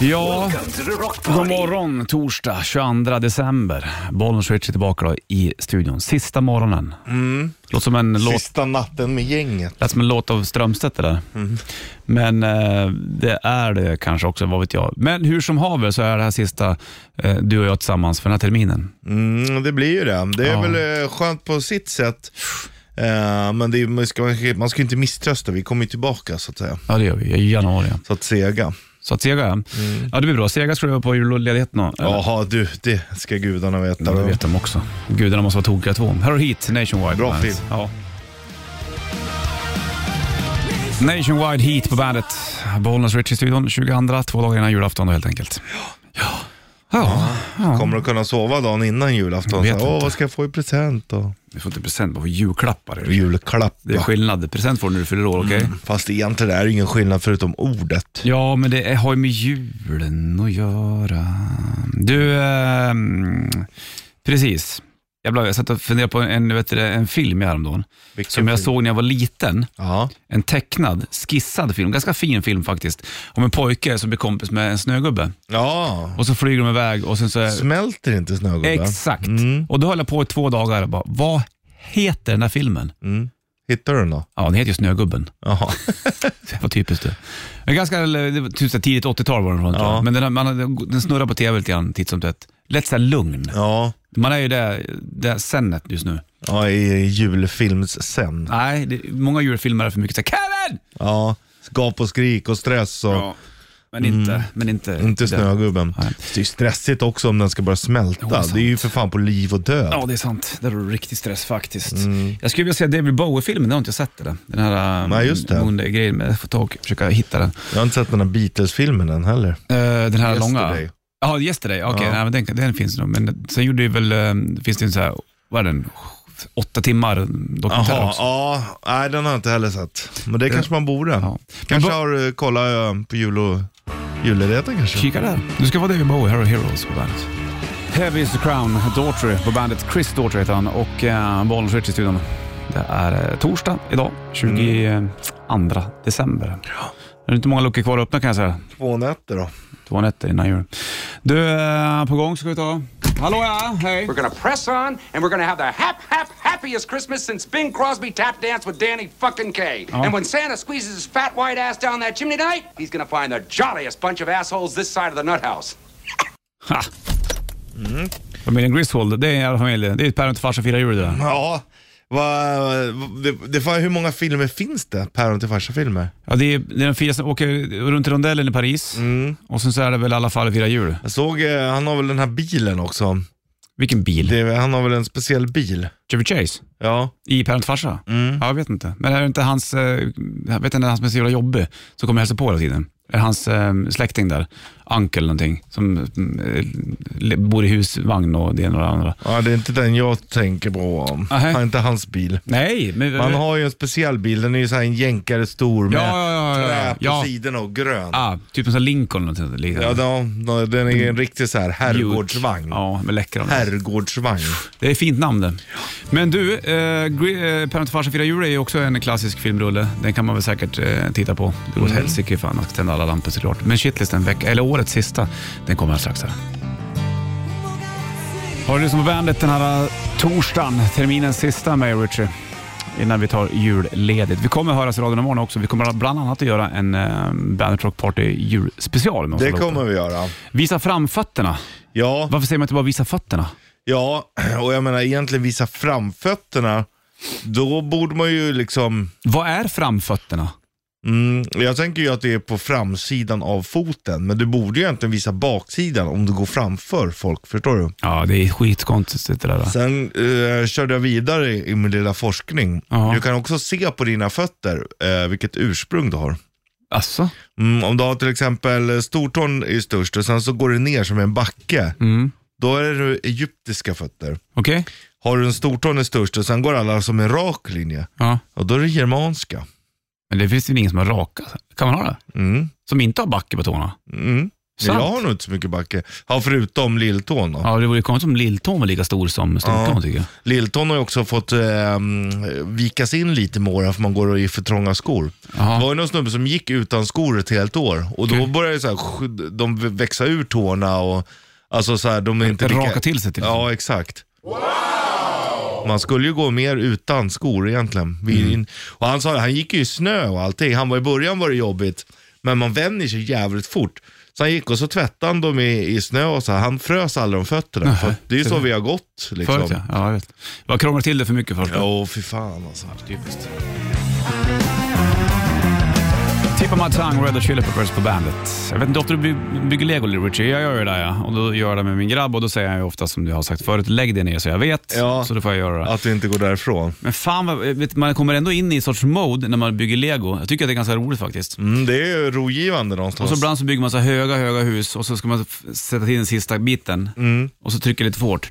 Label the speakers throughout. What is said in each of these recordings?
Speaker 1: Ja,
Speaker 2: to the rock
Speaker 1: god
Speaker 2: party.
Speaker 1: morgon torsdag 22 december. Bollnäs Switch är tillbaka då i studion. Sista morgonen. Låter som en låt
Speaker 3: Sista natten med gänget.
Speaker 1: Lät som en låt av Strömstedt det där. Men eh, det är det kanske också, vad vet jag. Men hur som haver så är det här sista eh, du och jag tillsammans för den här terminen.
Speaker 3: Mm, det blir ju det. Det är
Speaker 1: Ja.
Speaker 3: väl eh, skönt på sitt sätt. Eh, men det är, man, ska, man ska- man ska inte misströsta, vi kommer ju tillbaka så att säga.
Speaker 1: Ja, det gör vi. I januari. ja.
Speaker 3: Så att sega.
Speaker 1: Så att Sega, ja det blir bra. Sega ska du vara på julledigheten då. eller?
Speaker 3: Jaha du, det ska gudarna veta.
Speaker 1: Ja, det vet de också. Gudarna måste vara tokiga två. Här har du Heat, Nationwide.
Speaker 3: Bra
Speaker 1: på bandet.
Speaker 3: film.
Speaker 1: Ja. Nationwide Heat på bandet. Bollnäs Rich i studion 22, två dagar innan julafton då helt enkelt. Ja. ja.
Speaker 3: Kommer att kunna sova dagen innan julafton.
Speaker 1: Jag vet
Speaker 3: Så, Åh,
Speaker 1: inte.
Speaker 3: vad ska jag få i present då?
Speaker 1: Du får inte present, bara får julklappar.
Speaker 3: Och Julklapp.
Speaker 1: Det är
Speaker 3: va? Mm.
Speaker 1: skillnad. Present får du när du fyller år, okej?
Speaker 3: Fast egentligen är det ingen skillnad förutom ordet.
Speaker 1: Ja, men det är- har ju med julen att göra. Du, ehm, precis. Jag, blev, jag satt och funderade på en, vet du, det, en film jag häromdagen,
Speaker 3: Vilken
Speaker 1: som jag
Speaker 3: film?
Speaker 1: såg när jag var liten.
Speaker 3: Ja.
Speaker 1: En tecknad, skissad film, ganska fin film faktiskt, om en pojke som blir kompis med en snögubbe.
Speaker 3: ja.
Speaker 1: Och så flyger de iväg och sen så...
Speaker 3: Smälter inte snögubben?
Speaker 1: Exakt.
Speaker 3: Mm.
Speaker 1: Och då höll jag på i två dagar och bara, vad heter den här filmen?
Speaker 3: Mm. Hittar du den då?
Speaker 1: Ja, den heter ju Snögubben.
Speaker 3: Jaha.
Speaker 1: Vad typiskt du. Men ganska, eller, det var typ så här tidigt 80-tal var den från tror
Speaker 3: Ja.
Speaker 1: jag. Men den, har- man, har- den snurrar på tv lite grann titt som tätt. Lätt såhär lugn.
Speaker 3: Ja.
Speaker 1: Man är ju det, det sennet just nu.
Speaker 3: Ja, i julfilms-sen.
Speaker 1: Nej, det, många julfilmer är för mycket såhär Kevin!
Speaker 3: Ja, gap och skrik och stress och
Speaker 1: Men inte, men inte.
Speaker 3: Mm. inte
Speaker 1: det.
Speaker 3: snögubben.
Speaker 1: Nej.
Speaker 3: Det är ju stressigt också om den ska börja smälta.
Speaker 1: Jo,
Speaker 3: det,
Speaker 1: det är
Speaker 3: är ju för fan på liv och död.
Speaker 1: Ja, det är sant. Där har du riktig stress faktiskt.
Speaker 3: Mm.
Speaker 1: Jag skulle vilja se David Bowie-filmen, den har inte jag sett. Den, den här
Speaker 3: Nej, just det.
Speaker 1: Bonde grejen med, jag får tag, försöka hitta den.
Speaker 3: Jag har inte sett den här Beatles-filmen än heller.
Speaker 1: Eh, den här
Speaker 3: Yesterday.
Speaker 1: långa. Ja, Yesterday. Okej,
Speaker 3: Ja.
Speaker 1: nej, men den, den finns nog. Men sen gjorde ju väl, eh, finns det en så här, vad är den, åtta timmar dokumentär
Speaker 3: Jaha,
Speaker 1: också.
Speaker 3: ja, nej den har jag inte heller sett. Men det kanske man borde.
Speaker 1: Ja.
Speaker 3: Kanske
Speaker 1: Men
Speaker 3: har eh, kollat eh, på jul och julledigheter
Speaker 1: ba-
Speaker 3: kanske.
Speaker 1: Kika där. Du ska vara David Bowie, här har Heroes på bandet. Heavy is the crown, Daughtry på bandet. Chris Daughtry heter han och eh, Bollnäs Rich i studion. Det är eh, torsdag idag, 22 december. Det är inte många luckor kvar att öppna kan jag säga.
Speaker 3: Två nätter då.
Speaker 1: Två nätter innan jul. Du, eh, på gång ska vi ta... Hallå ja, hej!
Speaker 2: We're gonna press on, and we're gonna have the hap hap happiest Christmas since Bing Crosby tap danced with Danny fucking Kaye. And when Santa squeezes his fat white ass down that chimney night, he's gonna find the jolliest bunch of assholes this side of the nut house.
Speaker 1: Ha.
Speaker 3: Mm.
Speaker 1: Familjen Griswold, det är en jävla familj. Det är ett päron till farsa firar jul det där.
Speaker 3: Ja, va, det, det, fan, hur många filmer finns det? Päron till farsa-filmer?
Speaker 1: Ja, det är, det är de fyra som åker runt i rondellen i Paris
Speaker 3: Mm.
Speaker 1: och sen så är det väl alla fall firar jul.
Speaker 3: Jag såg, eh, han har väl den här bilen också.
Speaker 1: Vilken bil?
Speaker 3: Det, är- han har väl en speciell bil?
Speaker 1: Chevy Chase?
Speaker 3: Ja.
Speaker 1: I Päron till farsa?
Speaker 3: Mm.
Speaker 1: Ja, jag vet inte. Men är det inte hans, eh, jag vet inte, han som är så jävla jobbig, som kommer hälsa på hela tiden? Är det hans eh, släkting där, Uncle någonting, som eh, le- bor i husvagn och det ena och det andra?
Speaker 3: Ja, det är inte den jag tänker på.
Speaker 1: Aha.
Speaker 3: Det är inte hans bil.
Speaker 1: Nej, men...
Speaker 3: Man har ju en speciell bil, den är ju så här en jänkare stor med
Speaker 1: Ja, ja, ja, ja, ja.
Speaker 3: trä på
Speaker 1: Ja.
Speaker 3: sidorna och grön.
Speaker 1: Ah, typ en sån här Lincoln eller något liksom.
Speaker 3: Ja,
Speaker 1: liknande.
Speaker 3: den, den är en riktig så här herrgårdsvagn.
Speaker 1: Ja, med läckra.
Speaker 3: Herrgårdsvagn.
Speaker 1: Det är ett fint namn det. Men du, eh, Gre- eh, Parent och farsa firar jul är ju också en klassisk filmrulle. Den kan man väl säkert eh, titta på. Det går åt
Speaker 3: Mm.
Speaker 1: helsike ifall man ska tända alla lampor såklart. Men shitlisten, veck- eller årets sista, den kommer alldeles strax här. Har du lyssnat på bandet den här eh, torsdagen, terminens sista med Richie? Innan vi tar julledigt. Vi kommer höras i radion imorgon också. Vi kommer bland annat att göra en eh, Bandet Rock Party julspecial med oss
Speaker 3: Det
Speaker 1: allihopa.
Speaker 3: kommer vi göra.
Speaker 1: Visa framfötterna.
Speaker 3: Ja,
Speaker 1: Varför säger man inte bara visa fötterna?
Speaker 3: ja, och jag menar egentligen visa framfötterna. Då borde man ju liksom...
Speaker 1: Vad är framfötterna?
Speaker 3: Mm, jag tänker ju att det är på framsidan av foten, men du borde ju egentligen visa baksidan om du går framför folk, förstår du?
Speaker 1: Ja, det är skitkonstigt det där. va?
Speaker 3: Sen eh, körde jag vidare i i min lilla forskning.
Speaker 1: Ja.
Speaker 3: Du kan också se på dina fötter eh, vilket ursprung du har.
Speaker 1: Alltså?
Speaker 3: Mm, om du har till exempel eh, stortån är störst och sen så går det ner som en backe.
Speaker 1: Mm.
Speaker 3: Då är det egyptiska fötter.
Speaker 1: Okej.
Speaker 3: Har du en stortån är störst och sen går alla som en rak linje.
Speaker 1: Ja.
Speaker 3: Och då är det germanska.
Speaker 1: Men det finns ju ingen som har raka. Kan man ha det?
Speaker 3: Mm,
Speaker 1: Som inte har backe på tårna?
Speaker 3: mm. Men jag
Speaker 1: Sant.
Speaker 3: har nog inte så mycket backe. Ja, förutom lilltån då.
Speaker 1: Ja, det vore ju konstigt om lilltån var lika stor som stortån
Speaker 3: Ja.
Speaker 1: tycker jag.
Speaker 3: Lilltån har ju också fått eh, vikas in lite med åren för man går i för trånga skor.
Speaker 1: Jaha.
Speaker 3: Det var ju någon snubbe som gick utan skor ett helt år och då
Speaker 1: Okej.
Speaker 3: började ju så här, sk- de växa ur tårna och alltså så här, de är inte
Speaker 1: Raka till sig till
Speaker 3: Ja, exakt. Man skulle ju gå mer utan skor egentligen. Vi,
Speaker 1: Mm.
Speaker 3: och han sa det, han gick ju i snö och allting. Han var i början var det jobbigt, men man vänjer sig jävligt fort. Så han gick och så tvättade han dem i, i snö och så här, han frös aldrig om fötterna.
Speaker 1: Nej,
Speaker 3: för att det är ju
Speaker 1: ser
Speaker 3: så
Speaker 1: du.
Speaker 3: vi har gått liksom.
Speaker 1: Förut ja. ja jag vet. Jag krånglar till det för mycket först.
Speaker 3: Ja, åh, fy fan alltså.
Speaker 1: Typiskt. Tip of my tongue, Red Hot Chili Peppers på bandet. Jag vet inte ofta du by- bygger lego, Richie. Jag gör ju det där, ja. Och då gör jag det med min grabb och då säger jag ju ofta som du har sagt förut, lägg dig ner så jag vet.
Speaker 3: Ja.
Speaker 1: Så då får jag göra det.
Speaker 3: Att vi inte går därifrån.
Speaker 1: Men fan, vad- vet, du, man kommer ändå in i en sorts mode när man bygger lego. Jag tycker att det är ganska roligt faktiskt.
Speaker 3: Mm, det är ju rogivande
Speaker 1: Och
Speaker 3: någonstans.
Speaker 1: så ibland så bygger man så här höga, höga hus och så ska man f- sätta till den sista biten.
Speaker 3: Mm.
Speaker 1: Och så trycker lite för hårt.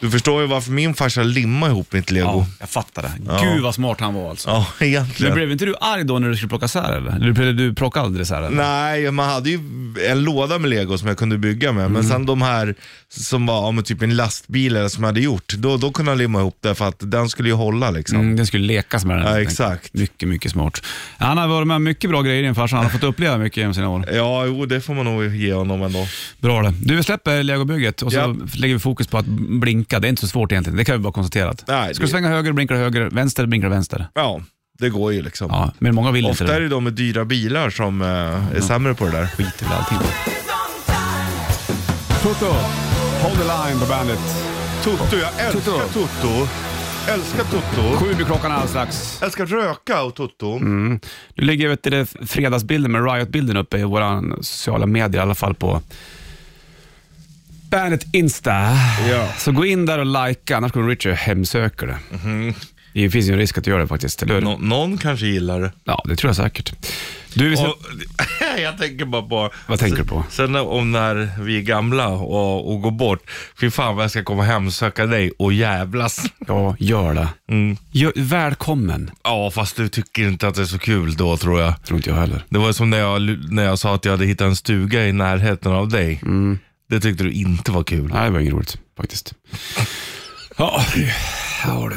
Speaker 3: Du förstår ju varför min farsa limmade ihop mitt lego.
Speaker 1: Ja,
Speaker 3: Ja,
Speaker 1: jag fattar det. Gud vad smart han var alltså. Men
Speaker 3: egentligen.
Speaker 1: blev inte du arg då när du skulle plocka isär eller? Eller Du, du plockade aldrig isär eller?
Speaker 3: Nej, man hade ju en låda med lego som jag kunde bygga med.
Speaker 1: Mm.
Speaker 3: Men sen de här som var ja, men typ en lastbil eller som jag hade gjort, då, då kunde jag limma ihop det för att den skulle ju hålla liksom.
Speaker 1: Mm, den skulle lekas med den.
Speaker 3: Ja,
Speaker 1: helt enkelt.
Speaker 3: exakt.
Speaker 1: Mycket, mycket smart. Han har varit med om mycket bra grejer i din farsa. Han har fått uppleva mycket genom sina år.
Speaker 3: Ja, jo, det får man nog ge honom ändå.
Speaker 1: Bra det. Du, vi släpper legobygget och så
Speaker 3: Ja.
Speaker 1: lägger vi fokus på att blinka. Det är inte så svårt egentligen. Det kan vi bara konstatera. att-
Speaker 3: Nej,
Speaker 1: Ska du
Speaker 3: det-
Speaker 1: svänga höger, blinkar du höger. Vänster, blinkar du vänster.
Speaker 3: Ja, det går ju liksom.
Speaker 1: Ja, men många vill inte
Speaker 3: Ofta
Speaker 1: det.
Speaker 3: är det de med dyra bilar som eh, är sämre på det där.
Speaker 1: skiter väl allting på. Toto, Hold the line på bandet.
Speaker 3: Toto, jag älskar
Speaker 1: Toto.
Speaker 3: Toto. Älskar Toto.
Speaker 1: Sju blir klockan alldeles strax.
Speaker 3: Älskar röka och Toto.
Speaker 1: Mm. Nu ligger vet du, det fredagsbilden med Riot-bilden uppe i våra sociala medier, i alla fall på Bandet Insta.
Speaker 3: Ja.
Speaker 1: Så gå in där och likea, annars kommer Richard hemsöka det. Det finns ju en risk att du gör det faktiskt, eller hur?
Speaker 3: Nå- någon kanske gillar det.
Speaker 1: Ja, det tror jag säkert. Du, vi ska...
Speaker 3: Och, jag tänker bara på...
Speaker 1: Vad tänker du på?
Speaker 3: Sen om när vi är gamla och, och går bort. Fy fan vad jag ska komma hem söka dig och jävlas.
Speaker 1: Ja, gör det. Gör, välkommen,
Speaker 3: Ja, fast du tycker inte att det är så kul då tror jag.
Speaker 1: tror inte jag heller.
Speaker 3: Det var som när jag, när jag sa att jag hade hittat en stuga i närheten av dig.
Speaker 1: Mm.
Speaker 3: Det tyckte du inte var kul.
Speaker 1: Nej, det var inget roligt faktiskt. Ja, ja du.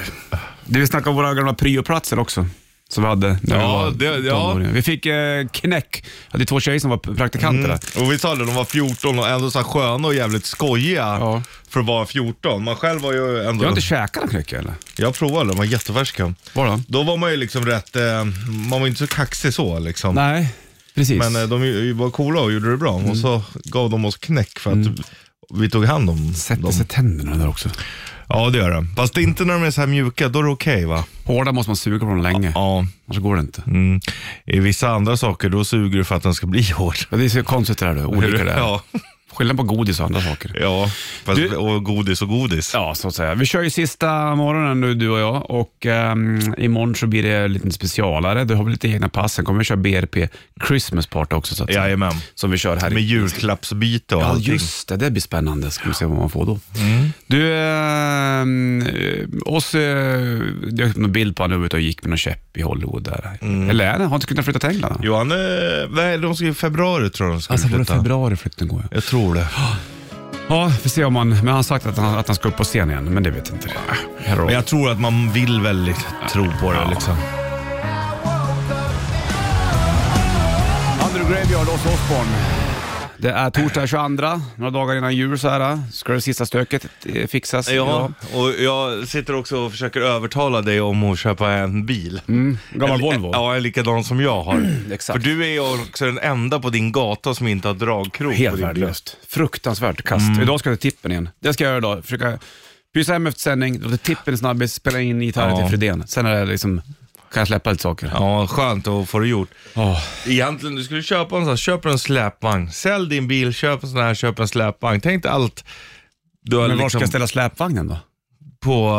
Speaker 1: Du, vi snackade om våra gamla prioplatser också. Som vi hade när vi
Speaker 3: Ja,
Speaker 1: var
Speaker 3: det- ja.
Speaker 1: tonåringar. Vi fick eh, knäck. Jag hade två tjejer som var praktikanter där.
Speaker 3: Och vi sa det, de var 14 och ändå så här sköna och jävligt skojiga
Speaker 1: Ja.
Speaker 3: för att vara 14. Man själv var ju ändå...
Speaker 1: Du har inte käkat en knäck eller?
Speaker 3: jag provade, de var jättefärska.
Speaker 1: Var då?
Speaker 3: Då var man ju liksom rätt, eh, man var inte så kaxig så liksom.
Speaker 1: Nej, precis.
Speaker 3: Men eh, de ju- var coola och gjorde det bra och så gav de oss knäck för att vi tog hand om
Speaker 1: Sätter
Speaker 3: dem.
Speaker 1: sig tänderna där också.
Speaker 3: Ja det gör det. Fast det är inte när de är så här mjuka, då är det okej va?
Speaker 1: Hårda måste man suga på dem länge,
Speaker 3: Ja.
Speaker 1: annars går det inte.
Speaker 3: Mm. I vissa andra saker, då suger du för att den ska bli hård.
Speaker 1: Ja, det är så konstigt det där du, olika det är.
Speaker 3: Ja,
Speaker 1: Skillnad på godis och andra saker.
Speaker 3: ja. Fast,
Speaker 1: Du-
Speaker 3: och godis och godis.
Speaker 1: Ja, så att säga. Vi kör ju sista morgonen nu, du och jag. Och ehm, imorgon så blir det lite specialare. Du har väl lite egna pass. Sen kommer vi köra BRP Christmas Party också, så att säga.
Speaker 3: Jajamän.
Speaker 1: Som vi kör här
Speaker 3: Med
Speaker 1: i...
Speaker 3: julklappsbyte och
Speaker 1: Ja,
Speaker 3: allting. Mm.
Speaker 1: just det. Det blir spännande. Ska vi se vad man får då. Du, ehm, eh, oss... Eh, jag har någon bild på honom ute och gick med någon käpp i Hollywood där.
Speaker 3: Mm.
Speaker 1: Eller är det? Har inte kunnat flytta till England?
Speaker 3: Johan, eh, nej de ska i februari tror jag de ska
Speaker 1: Alltså, var det
Speaker 3: flytta.
Speaker 1: februari flytten går? Ja,
Speaker 3: Jag tror det.
Speaker 1: ja vi får se om han... Men han har sagt att han, att han ska upp på scen igen, men det vet jag inte. Här har
Speaker 3: Men
Speaker 1: vi.
Speaker 3: jag tror att man vill väldigt tro på det
Speaker 1: Ja.
Speaker 3: liksom.
Speaker 1: Andrew Graveyard, Ozzy Osbourne. Det är torsdag 22, några dagar innan jul så här. Ska det sista stöket eh, fixas?
Speaker 3: Ja, och jag sitter också och försöker övertala dig om att köpa en bil.
Speaker 1: Mm. Gammal
Speaker 3: en,
Speaker 1: Volvo. Mm.
Speaker 3: Ja, en likadan som jag har.
Speaker 1: exakt.
Speaker 3: För du är ju också den enda på din gata som inte har dragkrok på
Speaker 1: Helt
Speaker 3: din bil.
Speaker 1: värdelöst. Fruktansvärt kast. Idag ska jag till tippen igen. Det ska jag göra idag. Försöka pysa hem efter sändning, låta tippen snabbis, spela in gitarren
Speaker 3: Ja.
Speaker 1: till Fredén. Sen är det liksom, kan jag släppa lite saker.
Speaker 3: Ja, skönt att få det gjort.
Speaker 1: Åh.
Speaker 3: Egentligen, du skulle köpa en sån här, köp en släpvagn. Sälj din bil, köp en sån här, köp en släpvagn. Tänk dig allt du har
Speaker 1: Men var ska
Speaker 3: liksom
Speaker 1: jag ställa släpvagnen då?
Speaker 3: på...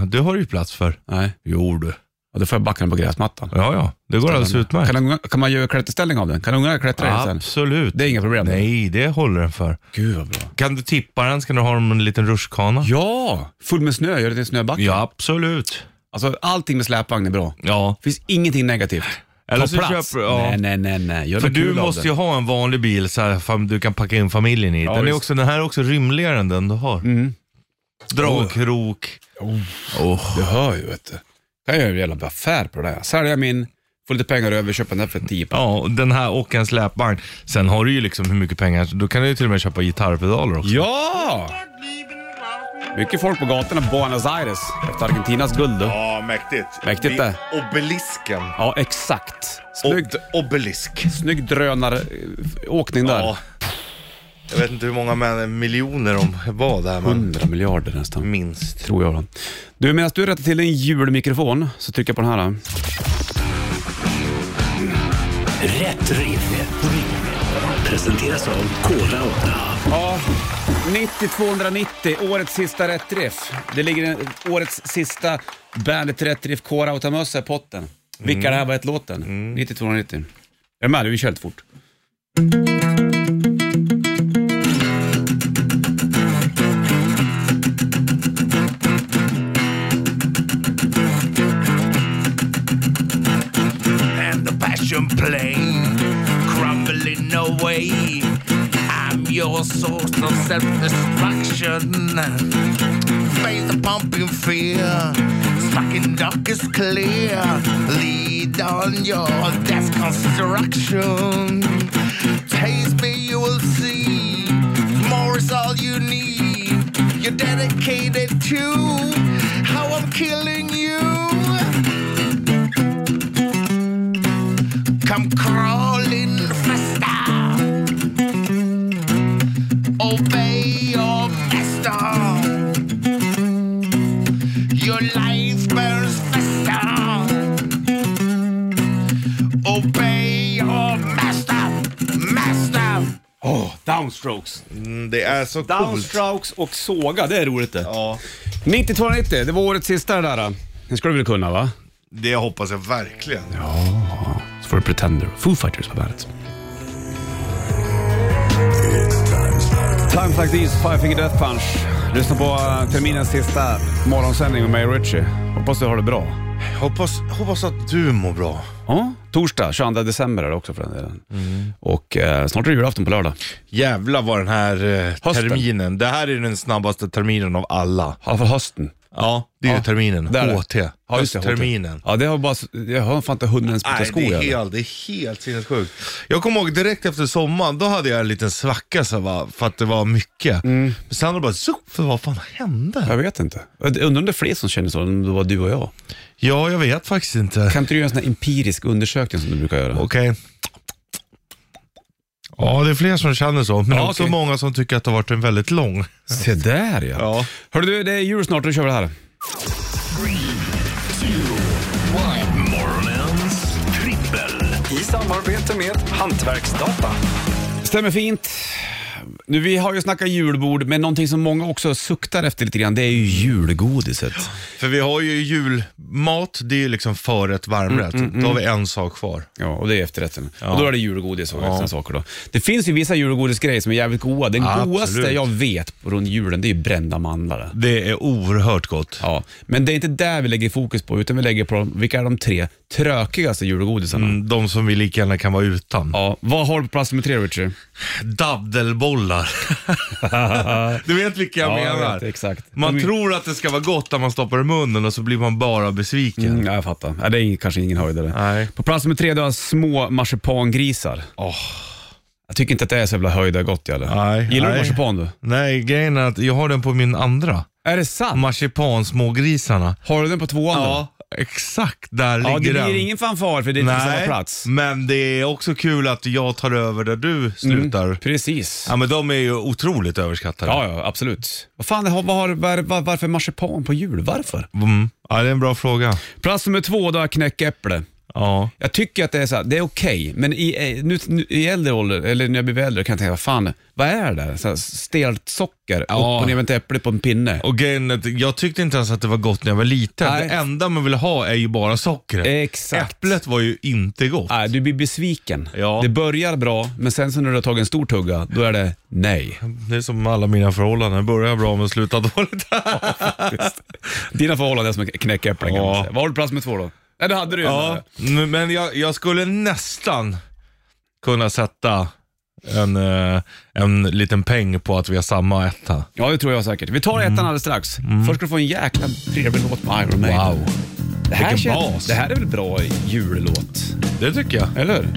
Speaker 3: eh, du har ju plats för.
Speaker 1: Nej.
Speaker 3: Jo du.
Speaker 1: Ja, då får jag backa den på gräsmattan.
Speaker 3: Ja, ja. Det går alldeles utmärkt.
Speaker 1: Kan, unga- kan man göra klätterställning av den? Kan ungarna klättra i den sen?
Speaker 3: Absolut.
Speaker 1: Det är inga problem.
Speaker 3: Nej, det håller den för.
Speaker 1: Gud vad bra.
Speaker 3: Kan du tippa den så kan du ha dem en liten rutschkana.
Speaker 1: Ja, full med snö, gör det till en snöbacke.
Speaker 3: Ja, absolut.
Speaker 1: Alltså allting med släpvagn är bra.
Speaker 3: Ja.
Speaker 1: Det finns ingenting negativt.
Speaker 3: Eller så
Speaker 1: Ta plats.
Speaker 3: köper du- ja.
Speaker 1: Nej, nej, nej, nej. Gör
Speaker 3: För
Speaker 1: något
Speaker 3: du
Speaker 1: kul av
Speaker 3: måste
Speaker 1: det.
Speaker 3: ju ha en vanlig bil så här, fam- du kan packa in familjen i. den, är
Speaker 1: visst.
Speaker 3: också, den här är också rymligare än den du har. Dragkrok.
Speaker 1: Du hör ju, vet du. Jag gör ju en jävla affär på det där. Sälja min, få lite pengar över, köpa den här för 10 papp.
Speaker 3: Ja, och den här och en släpvagn. Sen har du ju liksom hur mycket pengar, då kan du ju till och med köpa gitarrpedaler också.
Speaker 1: Ja! Mycket folk på gatorna på Buenos Aires efter Argentinas guld. då.
Speaker 4: Ja, mäktigt.
Speaker 1: Mäktigt
Speaker 4: Vid
Speaker 1: det.
Speaker 4: Obelisken.
Speaker 1: Ja, exakt. Snygg,
Speaker 4: Ob- obelisk.
Speaker 1: snygg drönaråkning där.
Speaker 4: Ja.
Speaker 3: Jag vet inte hur många men, miljoner de var där, men
Speaker 1: 100 miljarder nästan.
Speaker 3: minst.
Speaker 1: Tror jag då. Du, medan du rättar till din julmikrofon så trycker jag på den här. då.
Speaker 5: Rätt riff. Presenteras av Kora 8.
Speaker 1: Ja, 90-290, årets sista rätt riff. Det ligger en, årets sista Bandet Rätt Riff Kora och Tamössa i potten. Vilka
Speaker 5: Mm.
Speaker 1: det här var ett låten? 90-290. Är du med? Vi kör lite fort.
Speaker 6: and the passion plane crumbling away. I'm your source of self-destruction. Face the pumping fear, stuck in dark is clear. Lead on your death construction. Taste me, you will see. More is all you need. You're dedicated to how I'm killing you. come crawling faster. Obey your master. Your life burns faster. Obey your master, master.
Speaker 1: Åh, downstrokes.
Speaker 3: Mm, det är så coolt.
Speaker 1: Downstrokes och såga, det är roligt det.
Speaker 3: Ja,
Speaker 1: 90-290, det var årets sista det där. Den skulle du väl kunna va?
Speaker 3: det hoppas jag verkligen.
Speaker 1: Så får du Pretender, Foo Fighters på bandet. Times like these, Five Finger Death Punch. Lyssna på eh, terminens sista morgonsändning med mig och Richie. Hoppas du har det bra.
Speaker 3: Hoppas, hoppas att du mår bra.
Speaker 1: Ja, torsdag 22 december är det också för den delen.
Speaker 3: Mm.
Speaker 1: Och eh, snart är det julafton på lördag.
Speaker 3: Jävlar vad den här eh,
Speaker 1: Hösten.
Speaker 3: terminen, det här är den snabbaste terminen av alla.
Speaker 1: Ja, för hösten.
Speaker 3: Ja, det är
Speaker 1: Ja,
Speaker 3: ju terminen.
Speaker 1: där är det.
Speaker 3: HT.
Speaker 1: Ja, just det, HT.
Speaker 3: Höstterminen.
Speaker 1: Ja, det har bara, jag har fan inte hunnit ens byta
Speaker 3: Nej,
Speaker 1: skor.
Speaker 3: det är,
Speaker 1: heller.
Speaker 3: helt, det är helt sinnessjukt. Jag kommer ihåg direkt efter sommaren, då hade jag en liten svacka så va, för att det var mycket.
Speaker 1: Mm.
Speaker 3: Men sen var det bara zoop, för vad fan hände?
Speaker 1: Jag vet inte. Jag undrar om det är fler som känner så, om det var du och jag.
Speaker 3: Ja, jag vet faktiskt inte.
Speaker 1: Kan inte du göra en sån här empirisk undersökning som du brukar göra?
Speaker 3: Okej. Ja, det är fler som känner så, men
Speaker 1: Ja,
Speaker 3: också
Speaker 1: okej.
Speaker 3: många som tycker att det har varit en väldigt lång.
Speaker 1: Se där ja.
Speaker 3: Ja.
Speaker 1: Hörru du, det är jul snart, då kör vi det här.
Speaker 5: Morgonens trippel.
Speaker 7: I samarbete med Hantverksdata.
Speaker 1: Stämmer fint. Nu, vi har ju snackat julbord, men någonting som många också suktar efter lite grann, det är ju julgodiset.
Speaker 3: För vi har ju julmat, det är ju liksom förrätt, varmrätt.
Speaker 1: Mm,
Speaker 3: Då har vi en sak kvar.
Speaker 1: Ja, och det är efterrätten. Och då är det julgodis och sådana saker då. Det finns ju vissa julgodisgrejer som är jävligt goda. Den
Speaker 3: Absolut.
Speaker 1: godaste jag vet runt julen, det är ju brända mandlar.
Speaker 3: Det är oerhört gott.
Speaker 1: Ja, men det är inte där vi lägger fokus på, utan vi lägger på vilka är de tre trökigaste julgodisarna.
Speaker 3: Mm, De som vi lika gärna kan vara utan.
Speaker 1: Ja, vad har du på plats nummer tre, Richard?
Speaker 3: Daddelbollar. du vet vilka jag
Speaker 1: Ja, jag
Speaker 3: menar?
Speaker 1: vet, exakt.
Speaker 3: Man
Speaker 1: De är-
Speaker 3: tror att det ska vara gott när man stoppar i munnen och så blir man bara besviken.
Speaker 1: Mm, ja, jag fattar. Ja, det är ing- kanske ingen höjdare.
Speaker 3: Nej.
Speaker 1: På plats nummer tre, du har små marsipangrisar. Jag tycker inte att det är så jävla höjdargott eller?
Speaker 3: Nej,
Speaker 1: Gillar du
Speaker 3: nej.
Speaker 1: marsipan du?
Speaker 3: Nej, grejen är att jag har den på min andra.
Speaker 1: Är det sant?
Speaker 3: Marsipansmågrisarna.
Speaker 1: har du den på tvåan då?
Speaker 3: Exakt där
Speaker 1: Ja, det
Speaker 3: ligger den.
Speaker 1: blir ingen fanfar för det är inte på samma
Speaker 3: Nej, Mm.
Speaker 1: plats. Mm.
Speaker 3: men det är också kul att jag tar över där du slutar.
Speaker 1: Precis.
Speaker 3: Ja, men de är ju otroligt överskattade.
Speaker 1: Ja, ja, absolut. Vad fan, har- vad har, var, var, varför marsipan på jul? Varför?
Speaker 3: Mm. ja, det är en bra fråga.
Speaker 1: Plats nummer två, då har jag knäckäpple.
Speaker 3: Ja.
Speaker 1: Jag tycker att det är så här, det är okej, men i, eh, nu, nu, i äldre ålder, eller när jag blir äldre, kan jag tänka, vad fan, vad är det där? Så här, stelt socker, upp och ner med ett äpple på en pinne.
Speaker 3: Och grejen är att jag tyckte inte ens att det var gott när jag var liten.
Speaker 1: Nej.
Speaker 3: Det enda man ville ha är ju bara sockret.
Speaker 1: Exakt.
Speaker 3: Äpplet var ju inte gott.
Speaker 1: Nej, du blir besviken.
Speaker 3: Ja.
Speaker 1: Det börjar bra, men sen så när du har tagit en stor tugga, då är det nej.
Speaker 3: Det är som alla mina förhållanden. Det börjar bra men slutar dåligt.
Speaker 1: Dina förhållanden är som knäckäpplen kan man
Speaker 3: Ja.
Speaker 1: säga. Vad har du plats med två då? Ja, det hade du ju.
Speaker 3: Ja, m- men jag, jag skulle nästan kunna sätta en, eh, en liten peng på att vi har samma etta.
Speaker 1: ja, det tror jag säkert. Vi
Speaker 3: Mm.
Speaker 1: tar ettan alldeles strax. Först ska du få en jäkla trevlig låt med Iron Maiden.
Speaker 3: Wow.
Speaker 1: Det här,
Speaker 3: Vilken
Speaker 1: känns-
Speaker 3: bas.
Speaker 1: det här är väl bra jullåt?
Speaker 3: Det tycker jag.
Speaker 1: Eller hur?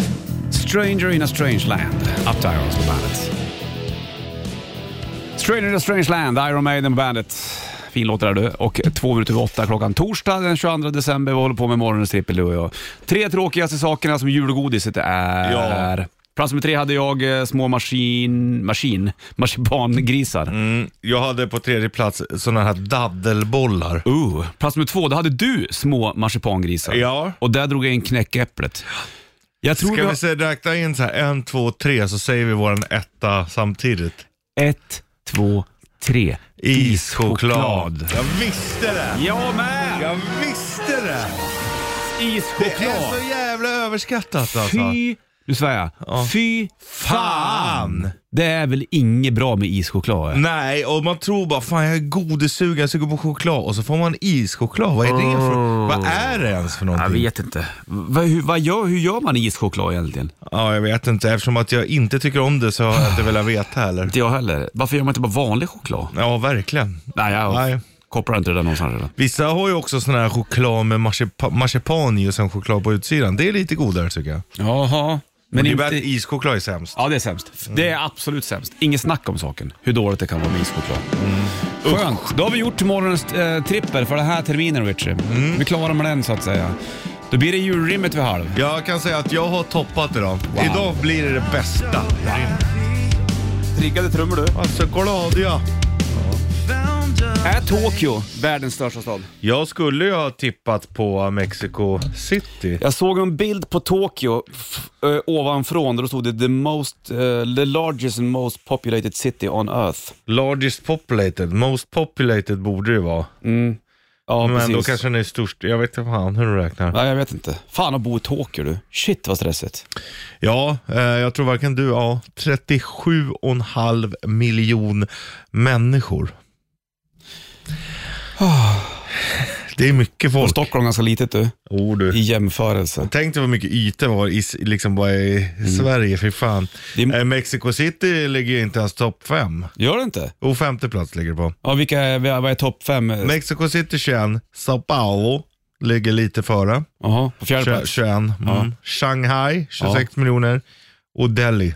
Speaker 1: Stranger in a strange land. Up to Irons på bandet. Stranger in a strange land, Iron Maiden på bandet. Fin låt det där du. Och två minuter över åtta klockan torsdag den 22 december. Vi håller på med morgonens trippel du och jag. Tre tråkigaste sakerna som julgodiset är.
Speaker 3: Ja.
Speaker 1: Plats nummer tre hade jag eh, små maskin... Maskin? Marsipangrisar.
Speaker 3: Mm. Jag hade på tredje plats sådana här daddelbollar.
Speaker 1: Ooh. Uh. Plats nummer två, då hade du små marsipangrisar.
Speaker 3: Ja.
Speaker 1: Och där drog jag in knäckäpplet. Jag tror
Speaker 3: Ska
Speaker 1: vi
Speaker 3: vi
Speaker 1: har...
Speaker 3: se, räkna in så här en, två, tre så säger vi våran etta samtidigt.
Speaker 1: Ett, två, tre.
Speaker 3: Ischoklad. Jag visste det!
Speaker 1: Jag med!
Speaker 3: Jag visste det! Det är
Speaker 1: Ischoklad.
Speaker 3: så jävla överskattat alltså.
Speaker 1: Fy, nu svär jag. Fy fan!
Speaker 3: Fan. Mm.
Speaker 1: Det är väl inget bra med ischoklad? eller?
Speaker 3: Nej, och man tror bara fan jag är godissugen, jag ska gå på choklad och så får man ischoklad. Vad är det för, vad är det ens för
Speaker 1: Jag
Speaker 3: någonting?
Speaker 1: vet inte. Va, hur, vad gör, hur gör man ischoklad egentligen?
Speaker 3: Ja, jag vet inte. Eftersom att jag inte tycker om det så har jag inte velat veta heller.
Speaker 1: Inte jag heller. Varför gör man inte bara vanlig choklad?
Speaker 3: Ja, verkligen.
Speaker 1: Nej, jag
Speaker 3: Nej.
Speaker 1: kopplar inte det där någonstans redan.
Speaker 3: Vissa har ju också sån här choklad med marsipa- marsipan i och sen choklad på utsidan. Det är lite godare tycker jag.
Speaker 1: Jaha. Men
Speaker 3: Men det är
Speaker 1: inte...
Speaker 3: bara att ischoklad är sämst.
Speaker 1: Ja, det är sämst. Det är absolut sämst. Inget snack om saken, hur dåligt det kan vara med ischoklad. Skönt. Då har vi gjort morgonens eh, trippel för den här terminen, Richie. Vi klarar med den, så att säga. Då blir det julrimmet vid halv.
Speaker 3: Jag kan säga att jag har toppat idag. Idag blir det det bästa.
Speaker 1: Triggade trummor, du.
Speaker 3: Alltså glad jag.
Speaker 1: Är Tokyo världens största stad?
Speaker 3: Jag skulle ju ha tippat på Mexico City.
Speaker 1: Jag såg en bild på Tokyo f- ö, ovanfrån där det stod det the, most, eh, the largest and most populated city on earth.
Speaker 3: Largest populated, most populated borde det ju vara.
Speaker 1: Ja,
Speaker 3: Men
Speaker 1: precis.
Speaker 3: då kanske den är störst. Jag vet inte fan hur du räknar.
Speaker 1: Ja, jag vet inte. Fan att bo i Tokyo du. Shit vad stressigt.
Speaker 3: Ja, eh, jag tror varken du, ja, 37,5 miljon människor. Det är mycket
Speaker 1: Ah. Och
Speaker 3: folk.
Speaker 1: Stockholm är ganska litet du,
Speaker 3: Oh,
Speaker 1: i
Speaker 3: du.
Speaker 1: jämförelse.
Speaker 3: Tänk dig vad mycket yta det var i, s- liksom bara i Sverige, fy fan.
Speaker 1: Mm. Det är-
Speaker 3: Eh, Mexico City ligger ju inte ens topp fem.
Speaker 1: Gör det inte?
Speaker 3: Och femte plats ligger det på.
Speaker 1: Ja, vilka är, vad är- vad är topp fem?
Speaker 3: Mexico City 21, Sao Paulo ligger lite före.
Speaker 1: Jaha, på fjärde
Speaker 3: Tjo-
Speaker 1: plats?
Speaker 3: 21. Mm. Shanghai 26 miljoner och Delhi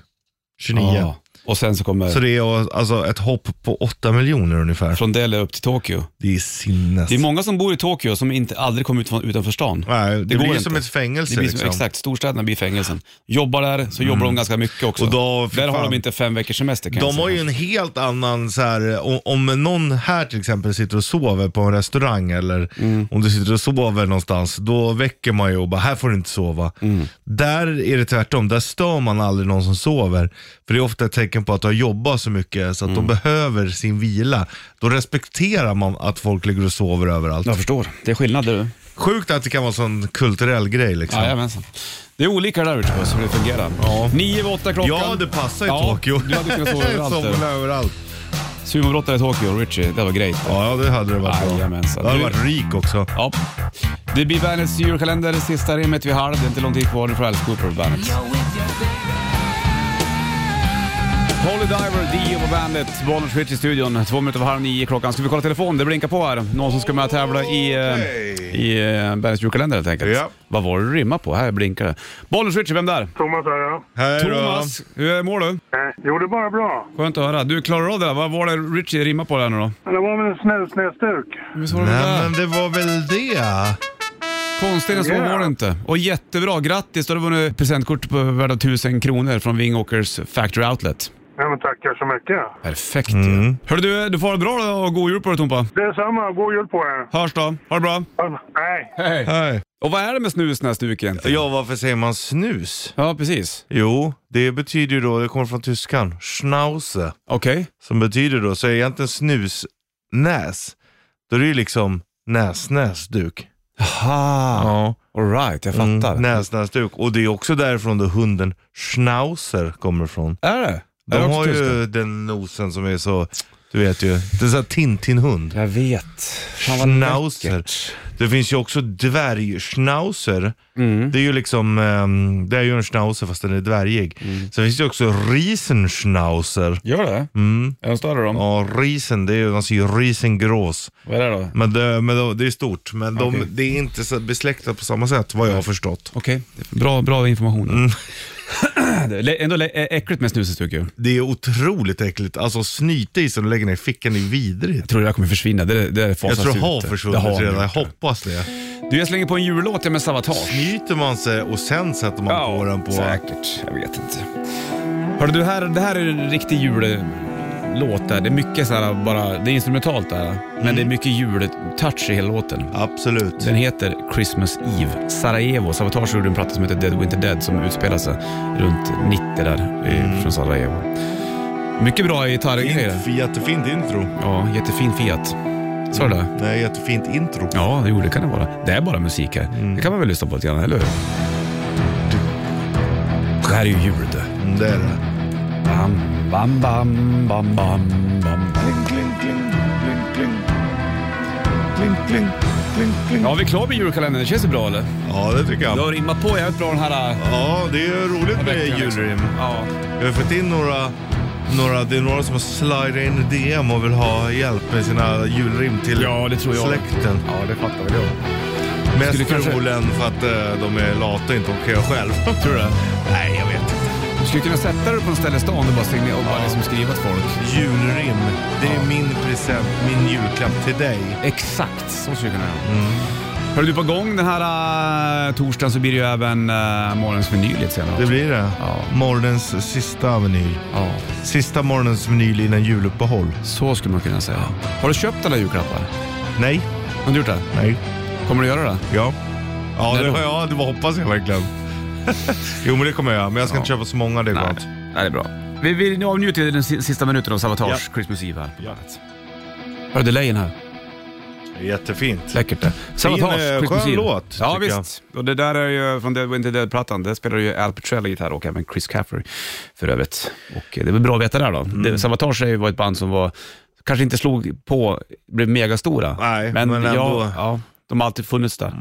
Speaker 3: 29.
Speaker 1: Ja. Och sen så kommer
Speaker 3: Så det är alltså ett hopp på 8 miljoner ungefär.
Speaker 1: från Delhi upp till Tokyo.
Speaker 3: Det är sinnes.
Speaker 1: Det är många som bor i Tokyo som inte, aldrig kommer ut från, utanför stan.
Speaker 3: Nej, det,
Speaker 1: går
Speaker 3: blir
Speaker 1: inte.
Speaker 3: som ett fängelse
Speaker 1: Det blir som,
Speaker 3: liksom. Mm.
Speaker 1: Exakt, storstäderna blir fängelsen. Jobbar där, så jobbar de ganska mycket också.
Speaker 3: Och då, för
Speaker 1: där har
Speaker 3: fan.
Speaker 1: de inte fem veckors semester kan jag
Speaker 3: De
Speaker 1: säga.
Speaker 3: har ju en helt annan så här, om, om någon här till exempel sitter och sover på en restaurang eller
Speaker 1: Mm.
Speaker 3: om du sitter och sover någonstans, då väcker man ju och bara, här får du inte sova.
Speaker 1: Mm.
Speaker 3: Där är det tvärtom, där stör man aldrig någon som sover. För det är ofta ett tecken på att du har jobbat så mycket så att
Speaker 1: Mm.
Speaker 3: de behöver sin vila. Då respekterar man att folk ligger och sover överallt.
Speaker 1: Jag förstår. Det är skillnad du.
Speaker 3: Sjukt att det kan vara en sån kulturell grej liksom.
Speaker 1: Jajamensan. Det är olika där ute på oss, hur det fungerar.
Speaker 3: Ja.
Speaker 1: Nio över åtta klockan.
Speaker 3: Ja, det passar i
Speaker 1: Ja,
Speaker 3: Tokyo.
Speaker 1: Du hade kunnat sova överallt.
Speaker 3: Somna
Speaker 1: du.
Speaker 3: överallt.
Speaker 1: Sumobrottare i Tokyo, Richie. Det var grejt.
Speaker 3: Ja, det hade det varit bra.
Speaker 1: Jajamensan.
Speaker 3: Det hade
Speaker 1: Du-
Speaker 3: varit rik också.
Speaker 1: Ja. Det blir Bandets julkalender, sista rimmet vid halv. Det är inte lång tid kvar. Nu får Alice Cooper på Bandet. Holy Diver, Dio på Bandet, Bollnäs Switch i studion. Två minuter över halv nio klockan. Ska vi kolla telefonen? Det blinkar på här. Någon som ska med och tävla i, eh, i eh, Bandets julkalender helt enkelt.
Speaker 3: Ja.
Speaker 1: Vad var det du rimmade på? Här blinkar det. Bollnäs Switch, vem där?
Speaker 8: Thomas här ja.
Speaker 3: Hej då.
Speaker 1: Thomas, hur mår du?
Speaker 8: Eh, Jo, det är bara bra.
Speaker 1: Skönt att höra. Du, klarar du av det där? Vad var det Richie rimmade på där nu då?
Speaker 8: Men Det var väl en snusnäsduk.
Speaker 1: Visst var det
Speaker 3: Nej
Speaker 1: där?
Speaker 3: men det var väl det.
Speaker 1: Konstigare än så
Speaker 8: Yeah.
Speaker 1: var det inte. Och jättebra, grattis! Du har vunnit presentkort på värda 1000 kronor från Vingåkers Factory Outlet.
Speaker 8: Ja, men tackar så mycket.
Speaker 1: Perfekt
Speaker 3: Mm.
Speaker 1: ju. Hörru du, du får ha det bra då och god jul på dig Tompa.
Speaker 8: Detsamma. God jul på er.
Speaker 1: Hörs då, ha det bra.
Speaker 8: Ja, Nej.
Speaker 1: Hej.
Speaker 3: Hej.
Speaker 1: Och vad är det med snusnäsduk egentligen?
Speaker 3: Ja varför säger man snus?
Speaker 1: Ja, precis.
Speaker 3: Jo, det betyder ju då, det kommer från tyskan, schnauze.
Speaker 1: Okej.
Speaker 3: Som betyder då, så är egentligen snusnäs, då är det ju liksom näsnäsduk.
Speaker 1: Aha.
Speaker 3: Ja.
Speaker 1: Alright, jag fattar.
Speaker 3: Mm, näsnäsduk. Och det är också därifrån då hunden schnauzer kommer ifrån.
Speaker 1: Är det?
Speaker 3: De
Speaker 1: är det också
Speaker 3: har ju
Speaker 1: tyska?
Speaker 3: den nosen som är så, du vet ju, det är så här Tintin-hund.
Speaker 1: Jag vet. Fan vad
Speaker 3: Schnauzer.
Speaker 1: läckert.
Speaker 3: Du Det finns ju också dvärgschnauzer.
Speaker 1: Mm.
Speaker 3: Det är ju liksom, ehm, det är ju en schnauzer fast den är dvärgig.
Speaker 1: Mm.
Speaker 3: Sen finns det ju också riesenschnauzer.
Speaker 1: Gör det? Är de större de?
Speaker 3: Mm. Ja, riesen, det är ju, man ser ju riesengrås.
Speaker 1: Vad är det då?
Speaker 3: Men det, men det- det är stort, men de,
Speaker 1: Okej.
Speaker 3: det är inte så besläktat på samma sätt vad jag har förstått.
Speaker 1: Okej, bra, bra information.
Speaker 3: Mm.
Speaker 1: Det är Ändå lä- ä- äckligt med snuset tycker jag.
Speaker 3: Det är otroligt äckligt. Alltså snyta i sig och lägga ner i fickan är vidrigt.
Speaker 1: Jag tror det där kommer försvinna. Det, det är
Speaker 3: Jag
Speaker 1: fasans
Speaker 3: tror det
Speaker 1: ut.
Speaker 3: har försvunnit
Speaker 1: Det har
Speaker 3: redan, jag
Speaker 1: gjort det.
Speaker 3: hoppas det.
Speaker 1: Du, jag slänger på en jullåt med Savatage.
Speaker 3: Snyter man sig och sen sätter man på den på...
Speaker 1: säkert. Jag vet inte. Hörru du, här, det här är en riktig jullåt där. Det är mycket så här bara, det är instrumentalt där. Men det
Speaker 3: Mm.
Speaker 1: är mycket jultouch i hela låten.
Speaker 3: Absolut.
Speaker 1: Den heter Christmas Eve. Sarajevo, Savatage gjorde en platta som heter Dead Winter Dead som utspelar sig runt 90 där i- från Sarajevo. Mycket bra gitarrgrejer.
Speaker 3: Mm. Fint, jättefint intro.
Speaker 1: Ja, jättefin Fiat. Sa du det?
Speaker 3: Nej, jättefint intro.
Speaker 1: Ja, det- jo, det kan det vara. Det är bara musik här. Det kan man väl lyssna på lite grann, eller hur? Det här är ju jul du.
Speaker 3: Mm, Det är det.
Speaker 1: Bam, bam, bam, bam, bam, bam.
Speaker 4: Kling, kling, kling, kling, kling. Kling, kling, kling, kling.
Speaker 1: Ja, vi är klara med julkalendern. Det känns ju bra eller?
Speaker 3: Ja, det tycker
Speaker 1: Du
Speaker 3: jag.
Speaker 1: har rimmat på jävligt bra den här... äh,
Speaker 3: Ja, det är ju roligt med
Speaker 1: veckan, liksom.
Speaker 3: julrim.
Speaker 1: Ja.
Speaker 3: Vi har fått in några, några, det är några som har slidat in i DM och vill ha hjälp med sina julrim till
Speaker 1: ja, det tror jag.
Speaker 3: släkten.
Speaker 1: Ja, det fattar väl jag.
Speaker 3: Mest
Speaker 1: Skulle kanske-
Speaker 3: förmodligen för att eh, de är lata och inte orkar göra själv. Tror du det? Nej, jag vet inte.
Speaker 1: Du skulle kunna sätta dig på en ställe i stan och bara, signera- och bara liksom skriva till folk.
Speaker 3: Julrim, det är min present, min julklapp till dig.
Speaker 1: Exakt, så skulle jag kunna göra. Mm. Hör du, på gång den här äh, torsdagen så blir det ju även äh, morgonens meny lite senare.
Speaker 3: Det blir det.
Speaker 1: Ja.
Speaker 3: Morgonens sista meny.
Speaker 1: Ja,
Speaker 3: Sista morgonens meny innan juluppehåll.
Speaker 1: så skulle man kunna säga. Har du köpt alla julklappar?
Speaker 3: Nej,
Speaker 1: Har du gjort det?
Speaker 3: nej,
Speaker 1: Kommer du göra det?
Speaker 3: ja. Ja,
Speaker 1: När
Speaker 3: det,
Speaker 1: då?
Speaker 3: ja, det hoppas jag verkligen. jo, men det kommer jag göra. Men jag ska inte köpa så många, det är skönt.
Speaker 1: Nej, det är bra. Vi, vi nu avnjuter vi den si- sista minuten av Savatage Christmas Eve här på bandet. Hörru, delayen här.
Speaker 3: Jättefint.
Speaker 1: Läckert det. Savatage,
Speaker 3: eh,
Speaker 1: Christmas
Speaker 3: skön
Speaker 1: Eve.
Speaker 3: låt,
Speaker 1: Ja,
Speaker 3: tycker
Speaker 1: visst. Och det där är ju från Dead Winter Dead-plattan. Där spelar ju Al Petrelli gitarr och även Chris Caffery för övrigt. Och eh, det är väl bra att veta där då.
Speaker 3: Mm.
Speaker 1: Det, Savatage är ju- var ett band som var, kanske inte slog på, blev megastora.
Speaker 3: Nej, men
Speaker 1: jag-
Speaker 3: ändå. Mm.
Speaker 1: Ja, de har alltid funnits där.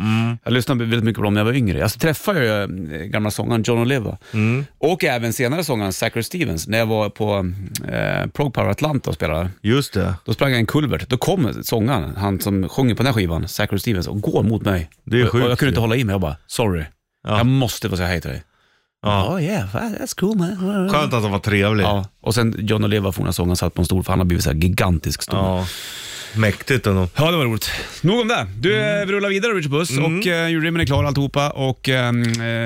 Speaker 1: Jag lyssnade väldigt mycket på dem när jag var yngre. Jag träffade ju eh, gamla sångaren John Oliva
Speaker 3: Mm.
Speaker 1: och även senare sångaren Zachary Stevens när jag var på eh, Prog Power Atlanta och spelade.
Speaker 3: Just det.
Speaker 1: Då sprang jag en kulvert. Då kom sångaren, han som sjunger på den här skivan, Zachary Stevens, och går mot mig.
Speaker 3: Det är
Speaker 1: och, och jag
Speaker 3: sjukt
Speaker 1: kunde inte
Speaker 3: ju.
Speaker 1: hålla i mig. Jag bara, sorry.
Speaker 3: Ja.
Speaker 1: Jag måste få säga hej till dig.
Speaker 3: Ja.
Speaker 1: Oh yeah, that's cool man.
Speaker 3: Skönt att han var trevlig.
Speaker 1: Ja, och sen John Oliva, forna sångaren, satt på en stol, för han har blivit så här gigantisk stor.
Speaker 3: Ja. Mäktigt ändå.
Speaker 1: Ja, det var roligt. Nog om det. Du,
Speaker 3: Mm.
Speaker 1: eh, vi rullar vidare Richard Puss och eh, julrimmen är klar alltihopa och... ehm,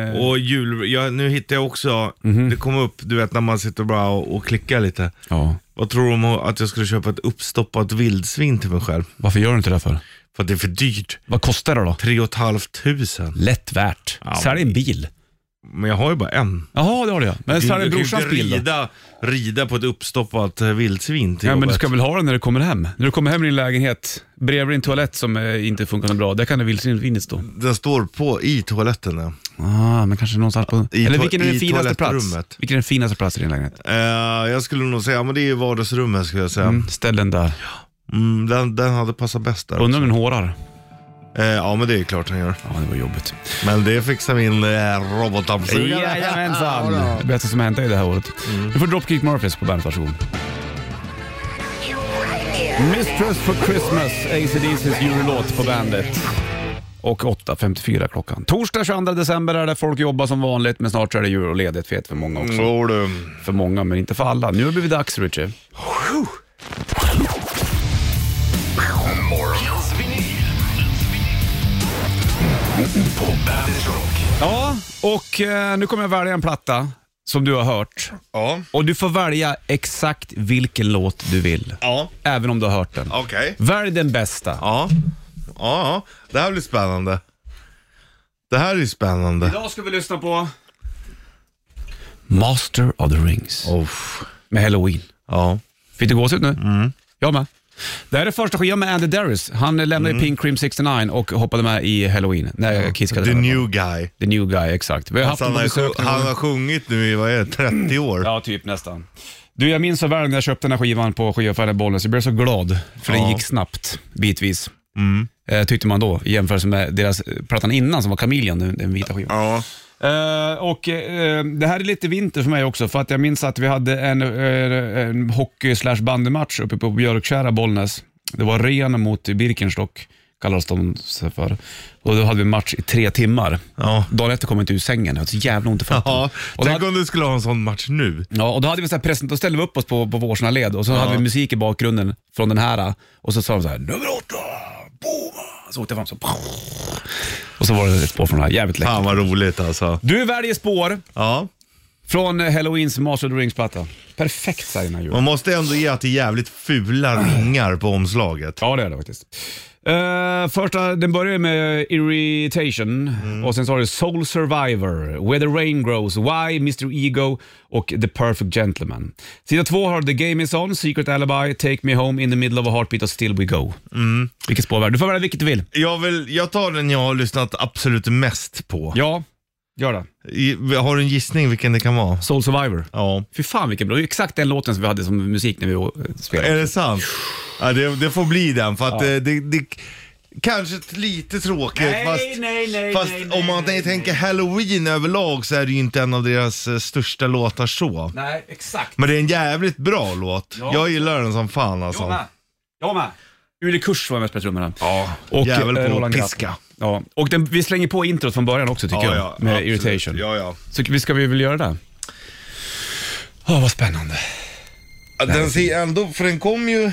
Speaker 1: eh,
Speaker 3: Och jul, ja, nu hittar jag också,
Speaker 1: Mhm.
Speaker 3: det kom upp, du vet när man sitter bara och, och klickar lite.
Speaker 1: ja.
Speaker 3: Vad tror du om att jag skulle köpa ett uppstoppat vildsvin till mig själv?
Speaker 1: Varför gör du inte det för?
Speaker 3: För att det är för dyrt.
Speaker 1: Vad kostar det då?
Speaker 3: Tre och ett halvt tusen.
Speaker 1: Lätt värt. Sälj en bil.
Speaker 3: Men jag har ju bara en.
Speaker 1: Jaha, det har du ja. Men
Speaker 3: Du,
Speaker 1: sälj
Speaker 3: du kan ju
Speaker 1: brorsans
Speaker 3: inte
Speaker 1: bil då.
Speaker 3: rida, rida på ett uppstoppat eh, vildsvin till
Speaker 1: Ja, men du
Speaker 3: jobbet.
Speaker 1: ska väl ha den när du kommer hem? När du kommer hem i din lägenhet, bredvid din toalett som eh, inte funkar så bra, där kan det vildsvinet stå.
Speaker 3: Den står på i toaletten. ja.
Speaker 1: Ah, men kanske någonstans på...
Speaker 3: I
Speaker 1: Eller
Speaker 3: to-
Speaker 1: vilken är den
Speaker 3: i
Speaker 1: finaste plats?
Speaker 3: toalettrummet.
Speaker 1: Vilken är den finaste platsen i din lägenhet?
Speaker 3: Eh, jag skulle nog säga, ja, men det är ju vardagsrummet skulle jag säga. Mm.
Speaker 1: Mm, ställ den där.
Speaker 3: den, den hade passat bäst där.
Speaker 1: Undrar om den hårar?
Speaker 3: Eh, ja, men det är ju klart den gör.
Speaker 1: Ja, det var jobbigt.
Speaker 3: Men det fixar min eh, robotdammsugare.
Speaker 1: Jajamensan! Det bästa som hänt dig det här året. Du får Dropkick Murphys på bandet, varsågod. Mistress for Christmas, ACDC's julelåt på bandet. Och 8.54 klockan. Torsdag 22 december är det, folk jobbar som vanligt, men snart så är det jul och ledigt vet för många också.
Speaker 3: Tror du?
Speaker 1: För många, men inte för alla. Nu har det blivit dags, Richie. Ja, och eh, nu kommer jag välja en platta som du har hört.
Speaker 3: Ja.
Speaker 1: Och du får välja exakt vilken låt du vill,
Speaker 3: Ja.
Speaker 1: även om du har hört den.
Speaker 3: Okej.
Speaker 1: Välj den bästa.
Speaker 3: Ja. ja. Ja, det här blir spännande. Det här är ju spännande.
Speaker 1: Idag ska vi lyssna på... Master of the Rings med Halloween.
Speaker 3: Ja.
Speaker 1: Fick du gåshud nu?
Speaker 3: Mm.
Speaker 1: Jag med. Det här är första skivan med Andy Darius. Han lämnade
Speaker 3: Mm.
Speaker 1: ju Pink Cream 69 och hoppade med i Halloween när jag kiskade.
Speaker 3: The
Speaker 1: den.
Speaker 3: new guy.
Speaker 1: The new guy, exakt. Vi har haft
Speaker 3: Alltså, han,
Speaker 1: honom på
Speaker 3: har,
Speaker 1: besök.
Speaker 3: sj- han har sjungit nu i, vad är det, 30 år?
Speaker 1: Ja, typ nästan. Du, jag minns så väl
Speaker 3: Mm.
Speaker 1: när jag köpte den här skivan på skivaffären i Bollnäs. Jag blev så glad, för den gick snabbt, bitvis. eh, tyckte man då, i jämförelse med deras eh, plattan innan som var Chameleon, den den vita skivan.
Speaker 9: Ja.
Speaker 1: Eh, och eh, Det här är lite vinter för mig också, för att jag minns att vi hade en, eh, en hockey slash bandymatch uppe på Björkkära, Bollnäs. Det var Ren mot Birkenstock, kallades de sig för. Och då hade vi match i tre timmar.
Speaker 3: Ja.
Speaker 1: Dagen efter kom jag inte ur sängen, jag hade så jävla ont i fötterna.
Speaker 3: Ja,
Speaker 1: Och då
Speaker 3: tänk
Speaker 1: hade-
Speaker 3: om du skulle ha en sån match nu.
Speaker 1: Ja, och då hade vi så här present, då ställde vi upp oss på, på vårsina led och så hade vi musik i bakgrunden från den här och så sa de så här nummer åtta, boom! Så åkte jag fram så och så var det ett spår från den här, jävligt läckert.
Speaker 3: Fan vad roligt alltså.
Speaker 1: Du väljer spår
Speaker 3: Ja,
Speaker 1: från Halloweens Master of the Rings-platta. Perfekt signar ju.
Speaker 3: man måste ändå ge att det är jävligt fula ringar på omslaget.
Speaker 1: Ja, det är det faktiskt. Eh, första, den börjar ju med Irritation och sen så har du Soul Survivor, Where the Rain Grows, Why, Mr Ego och The Perfect Gentleman. Sida två har du The Game Is On, Secret Alibi, Take Me Home, In the Middle of a Heartbeat och Still We Go. Vilket spår var det? Du får välja vilket du vill.
Speaker 3: Jag, vill, jag tar den jag har lyssnat absolut mest på.
Speaker 1: Ja, gör det.
Speaker 3: I- Har du en gissning vilken det kan vara?
Speaker 1: Soul Survivor.
Speaker 3: Ja.
Speaker 1: Fy fan vilken bra. Det är ju exakt den låten som vi hade som musik när vi eh, spelade.
Speaker 3: Är det sant? Ja, det, det får bli den för att eh, det, det kanske lite tråkigt.
Speaker 1: Nej,
Speaker 3: fast
Speaker 1: nej, nej,
Speaker 3: fast
Speaker 1: nej,
Speaker 3: om man
Speaker 1: nej, nej,
Speaker 3: tänker halloween överlag så är det ju inte en av deras eh, största låtar så.
Speaker 1: Nej, exakt.
Speaker 3: Men det är en jävligt bra låt.
Speaker 1: Ja.
Speaker 3: Jag gillar den som fan
Speaker 1: Jag med.
Speaker 3: alltså.
Speaker 1: Jag med. Uli Kurs var med och spelade trummorna.
Speaker 3: Ja,
Speaker 1: Och,
Speaker 3: jävel
Speaker 1: eh,
Speaker 3: på
Speaker 1: Roland
Speaker 3: att
Speaker 1: Gratt.
Speaker 3: piska.
Speaker 1: Ja, och den, vi slänger på introt från början också tycker jag, med
Speaker 3: absolut.
Speaker 1: Irritation.
Speaker 3: Ja, ja.
Speaker 1: Så vi ska vi väl göra det? Ja, vad spännande.
Speaker 3: Den ser ändå, för den kom ju...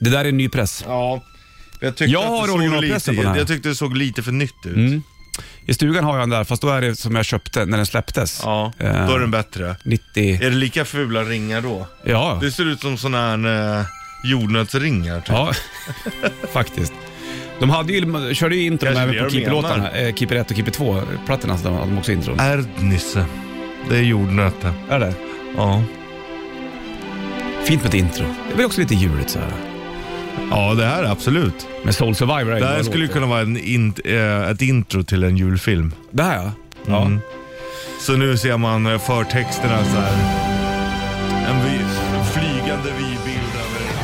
Speaker 1: Det där är en ny press.
Speaker 3: Ja. Jag, tyckte
Speaker 1: Jag
Speaker 3: att det
Speaker 1: har
Speaker 3: såg
Speaker 1: originalpressen
Speaker 3: lite-
Speaker 1: på den här. Mm.
Speaker 3: Jag tyckte det såg lite för nytt ut.
Speaker 1: I stugan har jag den där, fast då är det som jag köpte när den släpptes.
Speaker 3: Ja,
Speaker 1: Eh,
Speaker 3: då är den bättre.
Speaker 1: 90...
Speaker 3: Är det lika fula ringar då?
Speaker 1: Ja,
Speaker 3: Det ser ut som sådana här eh, jordnötsringar. Typ.
Speaker 1: ja. faktiskt. De hade ju, körde ju intron
Speaker 3: Kanske
Speaker 1: även
Speaker 3: det
Speaker 1: på
Speaker 3: de
Speaker 1: Keeper-låtarna.
Speaker 3: menar.
Speaker 1: Eh, Keeper 1 och Keeper 2-plattorna så hade de också intron.
Speaker 3: Erdnisse. Det är jordnötter.
Speaker 1: Är det?
Speaker 3: Ja.
Speaker 1: Fint med ett intro. Det är väl också lite juligt så här.
Speaker 3: Ja, det här är absolut.
Speaker 1: Men Soul Survivor är ju
Speaker 3: Det
Speaker 1: bra
Speaker 3: här skulle ju
Speaker 1: låt.
Speaker 3: kunna vara en int, eh, ett intro till en julfilm.
Speaker 1: Det här ja. Ja.
Speaker 3: Mm. Så nu ser man eh, förtexterna så här. En vy, flygande vybild över...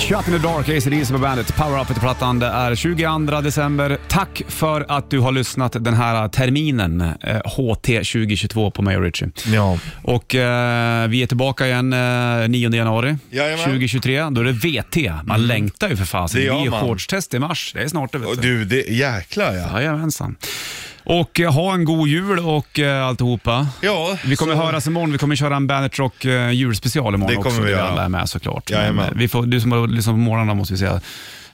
Speaker 1: Shut in the dark, ACDC på bandet. Power up till plattan. Det är 22 december. Tack för att du har lyssnat den här terminen, eh, HT 2022 på mig och Richie.
Speaker 3: Ja.
Speaker 1: Och eh, vi är tillbaka igen eh, 9 januari
Speaker 3: Jajamän. Mm.
Speaker 1: 2023. Då är det VT. Man längtar ju för fasen.
Speaker 3: Det
Speaker 1: Det
Speaker 3: gör
Speaker 1: är ju
Speaker 3: man.
Speaker 1: shortstest i mars. Det är snart det vet
Speaker 3: Och du, det jäklar ja.
Speaker 1: Jajamensan. Och eh, ha en god jul och eh, alltihopa.
Speaker 3: Ja,
Speaker 1: Vi kommer
Speaker 3: så-
Speaker 1: höras imorgon. Vi kommer köra en Bandit Rock eh, julspecial imorgon
Speaker 3: Det kommer
Speaker 1: också.
Speaker 3: vi
Speaker 1: där
Speaker 3: göra.
Speaker 1: Alla är med såklart.
Speaker 3: Jajamän.
Speaker 1: Men, eh, vi får, du som har lyssnat på morgnarna måste vi säga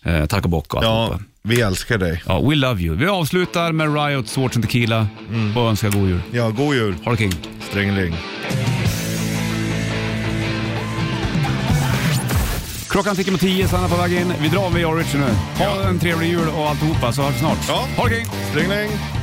Speaker 1: eh, tack och bock och
Speaker 3: Ja,
Speaker 1: alltihopa.
Speaker 3: vi älskar dig.
Speaker 1: Ja, we love you. Vi avslutar med Riot, Swords and Tequila
Speaker 3: Mm.
Speaker 1: och önskar god jul.
Speaker 3: Ja, god jul,
Speaker 1: Ha det king.
Speaker 3: Strängeling.
Speaker 1: Klockan tickar mot tio, Sanna på väg in. Vi drar med jag och Richie nu. Ha en trevlig jul och alltihopa så hörs vi snart.
Speaker 3: Ja.
Speaker 1: Ha det king.
Speaker 3: Strängeling.